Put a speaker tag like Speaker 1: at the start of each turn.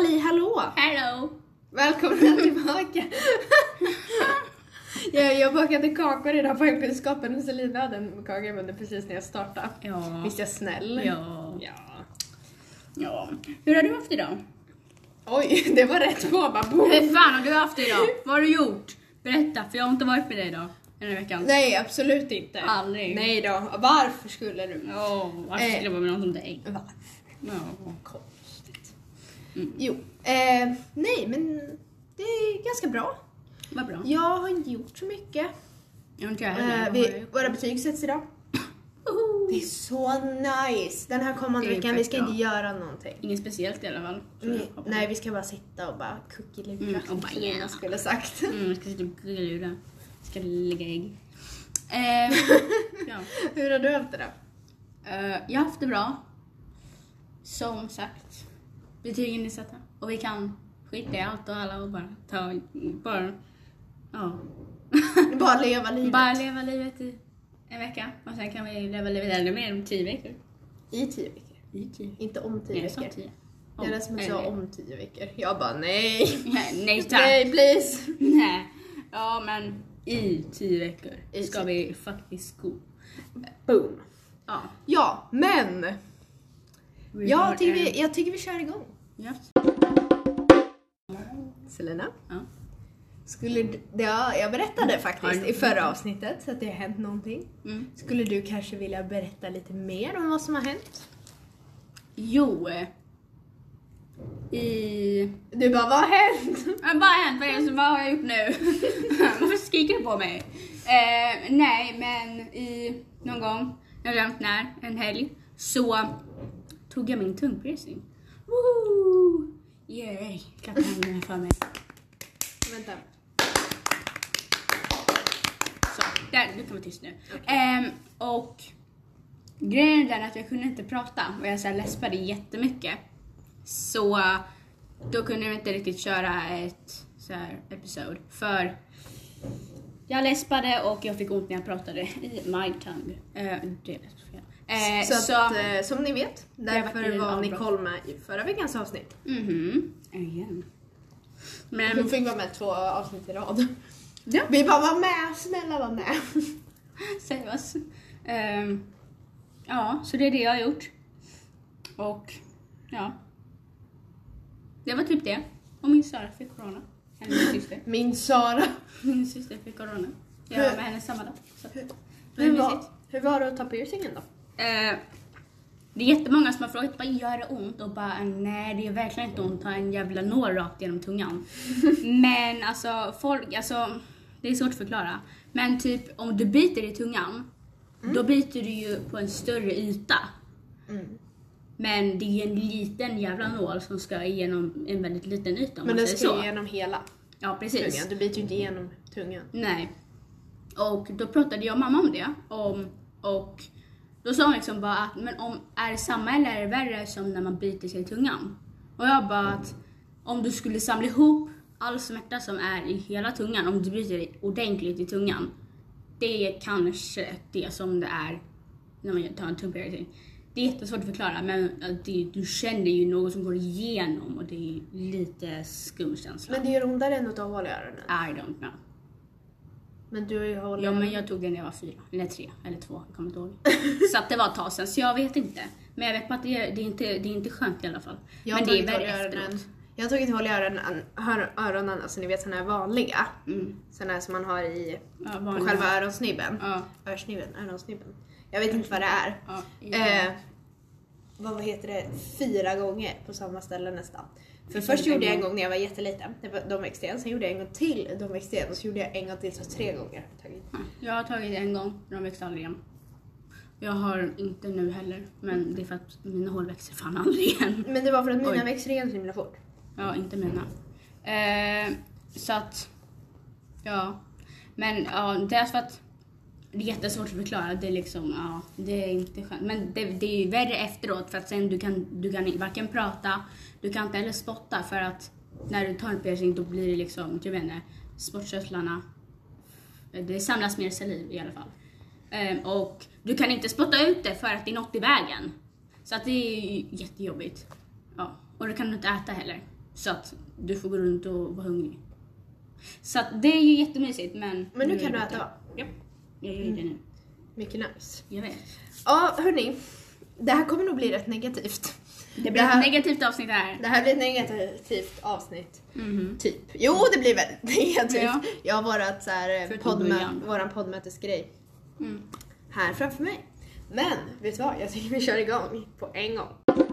Speaker 1: Ja,
Speaker 2: Hello!
Speaker 1: välkomna tillbaka! jag, jag bakade kakor idag på hemkunskapen och Selina hade en kaka i munnen precis när jag startade.
Speaker 2: Ja.
Speaker 1: Visst är jag snäll?
Speaker 2: Ja.
Speaker 1: Ja.
Speaker 2: ja. Hur har du haft idag?
Speaker 1: Oj, det var rätt på bara boom.
Speaker 2: Hur fan har du haft det idag? Vad har du gjort? Berätta, för jag har inte varit med dig idag den här veckan.
Speaker 1: Nej, absolut inte.
Speaker 2: Aldrig.
Speaker 1: Nej då, varför skulle du?
Speaker 2: Ja, oh, varför skulle jag vara med någon som dig?
Speaker 1: Varför?
Speaker 2: Eh. Ja.
Speaker 1: Konstigt.
Speaker 2: Mm.
Speaker 1: Jo, eh, nej men det är ganska bra.
Speaker 2: Vad bra.
Speaker 1: Jag har inte gjort så mycket.
Speaker 2: Jag har inte jag
Speaker 1: Eh,
Speaker 2: heller. Vad har jag
Speaker 1: vi,
Speaker 2: gjort?
Speaker 1: våra betyg sätts idag.
Speaker 2: Woho!
Speaker 1: Det är så nice! Den här kommande
Speaker 2: Det är
Speaker 1: veckan, vi ska
Speaker 2: fett
Speaker 1: inte göra någonting.
Speaker 2: Inget speciellt i alla fall. tror jag.
Speaker 1: Vi, nej, vi ska bara sitta och bara kuckelura
Speaker 2: Mm, och
Speaker 1: som
Speaker 2: bara,
Speaker 1: Selina
Speaker 2: yeah.
Speaker 1: skulle sagt.
Speaker 2: Mm, jag ska sitta och gurglura. Ska lägga ägg. Eh, ja.
Speaker 1: Hur har du haft det då?
Speaker 2: Eh, jag har haft det bra. Som sagt, betygen är satta. Och vi kan skita i allt och alla och bara ta... Bara... Ja.
Speaker 1: Bara leva livet.
Speaker 2: bara leva livet i en vecka. Och sen kan vi leva livet ännu mer om tio veckor.
Speaker 1: I tio veckor.
Speaker 2: I tio?
Speaker 1: Inte om tio
Speaker 2: Nej, jag sa
Speaker 1: veckor.
Speaker 2: tio.
Speaker 1: Det är det som jag sa
Speaker 2: eller-
Speaker 1: om tio veckor. Jag bara nej.
Speaker 2: Nej, nej tack. Nej.
Speaker 1: nej, please.
Speaker 2: Ja, men i tio veckor
Speaker 1: I
Speaker 2: ska
Speaker 1: tio.
Speaker 2: vi faktiskt gå.
Speaker 1: Boom.
Speaker 2: Ja.
Speaker 1: Ja, men.
Speaker 2: vi har
Speaker 1: Jag tycker,
Speaker 2: en-
Speaker 1: vi, jag tycker vi kör igång.
Speaker 2: Ja.
Speaker 1: Selina.
Speaker 2: Ja.
Speaker 1: Skulle du, det, ja, jag
Speaker 2: Mm.
Speaker 1: berättade faktiskt
Speaker 2: Har-
Speaker 1: i förra avsnittet att det har hänt någonting.
Speaker 2: Mm.
Speaker 1: Skulle du kanske vilja berätta lite mer om vad som har hänt?
Speaker 2: Jo. I...
Speaker 1: Du bara, vad har hänt?
Speaker 2: Vad har bara hänt? Vad, är det som, vad har jag gjort nu? Varför skriker du på mig? Eh, nej, men i någon gång, jag har glömt när, en helg, så tog jag min tungpiercing. Woohoo! Yay! Klappa händerna för mig.
Speaker 1: Vänta.
Speaker 2: Så, där, du kan vara tyst nu. Ehm, och grejen är den att jag kunde inte prata och jag så här läspade jättemycket. Så då kunde jag inte riktigt köra ett så här episod för jag läspade och jag fick ont när jag pratade i my tongue. Eh, det är fel. Eh,
Speaker 1: så att, eh, som ni vet,
Speaker 2: varit
Speaker 1: därför
Speaker 2: i
Speaker 1: var
Speaker 2: avbrott.
Speaker 1: Nicole med i förra veckans avsnitt.
Speaker 2: mhm, igen. Men
Speaker 1: Hon fick vara med två avsnitt i rad.
Speaker 2: Ja.
Speaker 1: Vi bara, var med, snälla var med.
Speaker 2: Säg oss. Ehm, ja, så det är det jag har gjort. Och ja. Det var typ det. Och min Sara fick corona. Eller min syster.
Speaker 1: Min Sara.
Speaker 2: Min syster fick corona. Jag var med henne samma dag. Så.
Speaker 1: Hur,
Speaker 2: Det
Speaker 1: hur,
Speaker 2: var
Speaker 1: var,
Speaker 2: mysigt.
Speaker 1: hur var det att ta piercingen då?
Speaker 2: Eh, det är jättemånga som har frågat bara gör det ont? Och bara nej det är verkligen inte ont. Ta en jävla nål rakt genom tungan. Men alltså folk, alltså det är svårt att förklara. Men typ om du biter i tungan, då biter du ju på en större yta.
Speaker 1: Mm.
Speaker 2: Men det är en liten jävla nål som ska igenom en väldigt liten yta om
Speaker 1: Men
Speaker 2: man
Speaker 1: den
Speaker 2: säger
Speaker 1: ska
Speaker 2: så.
Speaker 1: ju igenom hela
Speaker 2: Ja precis.
Speaker 1: tungan. Du biter ju inte igenom tungan.
Speaker 2: Nej. Och då pratade jag och mamma om det. Om, och då sa hon liksom bara att men om, är det samma eller är det värre som när man biter sig i tungan? Och jag bara att om du skulle samla ihop all smärta som är i hela tungan, om du biter dig ordentligt i tungan. Det är kanske det som det är när man tar en tumpiercing. Det är jättesvårt att förklara men att det, du känner ju något som går igenom och det är lite skum känsla.
Speaker 1: Men det gör ondare än att ha hål i öronen.
Speaker 2: I don't know.
Speaker 1: Men du har ju hål i
Speaker 2: Ja
Speaker 1: öronen.
Speaker 2: men jag tog den när jag var fyra, eller tre, eller två, jag kommer inte ihåg. Så att det var ett tag sedan, så jag vet inte. Men jag vet bara att det är, det är, inte, det är inte skönt i alla fall.
Speaker 1: Jag har
Speaker 2: men det är
Speaker 1: tagit hål i
Speaker 2: värre
Speaker 1: öronen.
Speaker 2: efteråt.
Speaker 1: Jag har tagit hål i öronen, hör- öronen alltså ni vet sådana här vanliga.
Speaker 2: Mm.
Speaker 1: Sådana här som man har i
Speaker 2: Ja,
Speaker 1: på
Speaker 2: vanliga.
Speaker 1: själva öronsnibben.
Speaker 2: Ja,
Speaker 1: Örsnibben, öronsnibben. Jag vet inte vad det är.
Speaker 2: ja,
Speaker 1: Eh, vad vad heter det? Fyra gånger på samma ställe nästan. För
Speaker 2: Det
Speaker 1: först
Speaker 2: känns
Speaker 1: gjorde jag en
Speaker 2: en
Speaker 1: gång när jag var jätteliten. Det var- De växte igen. Sen gjorde jag en gång till. De växte igen. Och så gjorde jag en gång till. Så tre gånger har jag tagit.
Speaker 2: jag har tagit en gång, de växte aldrig igen. Jag har inte nu heller, men det är för att mina hål växer fan aldrig igen.
Speaker 1: Men det var för att mina
Speaker 2: Oj.
Speaker 1: växer igen så himla fort.
Speaker 2: Ja, inte mina. Eh, så att, ja. Men ja, det är för att det är jättesvårt att förklara. Det är liksom, ja, det är inte skönt. Men det, det är ju värre efteråt för att sen du kan, du kan varken prata, du kan inte heller spotta för att när du tar en piercing då blir det liksom, jag vet inte, spottkörtlarna, Eh, det samlas mer saliv i alla fall. Eh, och du kan inte spotta ut det för att det är något i vägen. Så att det är ju jättejobbigt. Ja. Och du kan inte äta heller. Så att du får gå runt och vara hungrig. Så att det är ju jättemysigt men...
Speaker 1: Men nu
Speaker 2: är
Speaker 1: kan du
Speaker 2: det
Speaker 1: äta
Speaker 2: borta.
Speaker 1: va? Ja.
Speaker 2: Jag gör ju det nu.
Speaker 1: Mycket nice.
Speaker 2: Jag vet.
Speaker 1: Ja, hörni. Det här kommer nog bli rätt negativt.
Speaker 2: Det
Speaker 1: Det
Speaker 2: blir
Speaker 1: här-
Speaker 2: ett negativt avsnitt här.
Speaker 1: Det här blir ett negativt avsnitt.
Speaker 2: Mhm.
Speaker 1: Typ. Jo, det blir väldigt negativt.
Speaker 2: Ja.
Speaker 1: Jag har vårat, så här, eh,
Speaker 2: Förutom
Speaker 1: poddmö-
Speaker 2: början.
Speaker 1: våran poddmötesgrej
Speaker 2: Mm.
Speaker 1: här framför mig. Men, vet du vad? Jag tycker vi kör igång på en gång.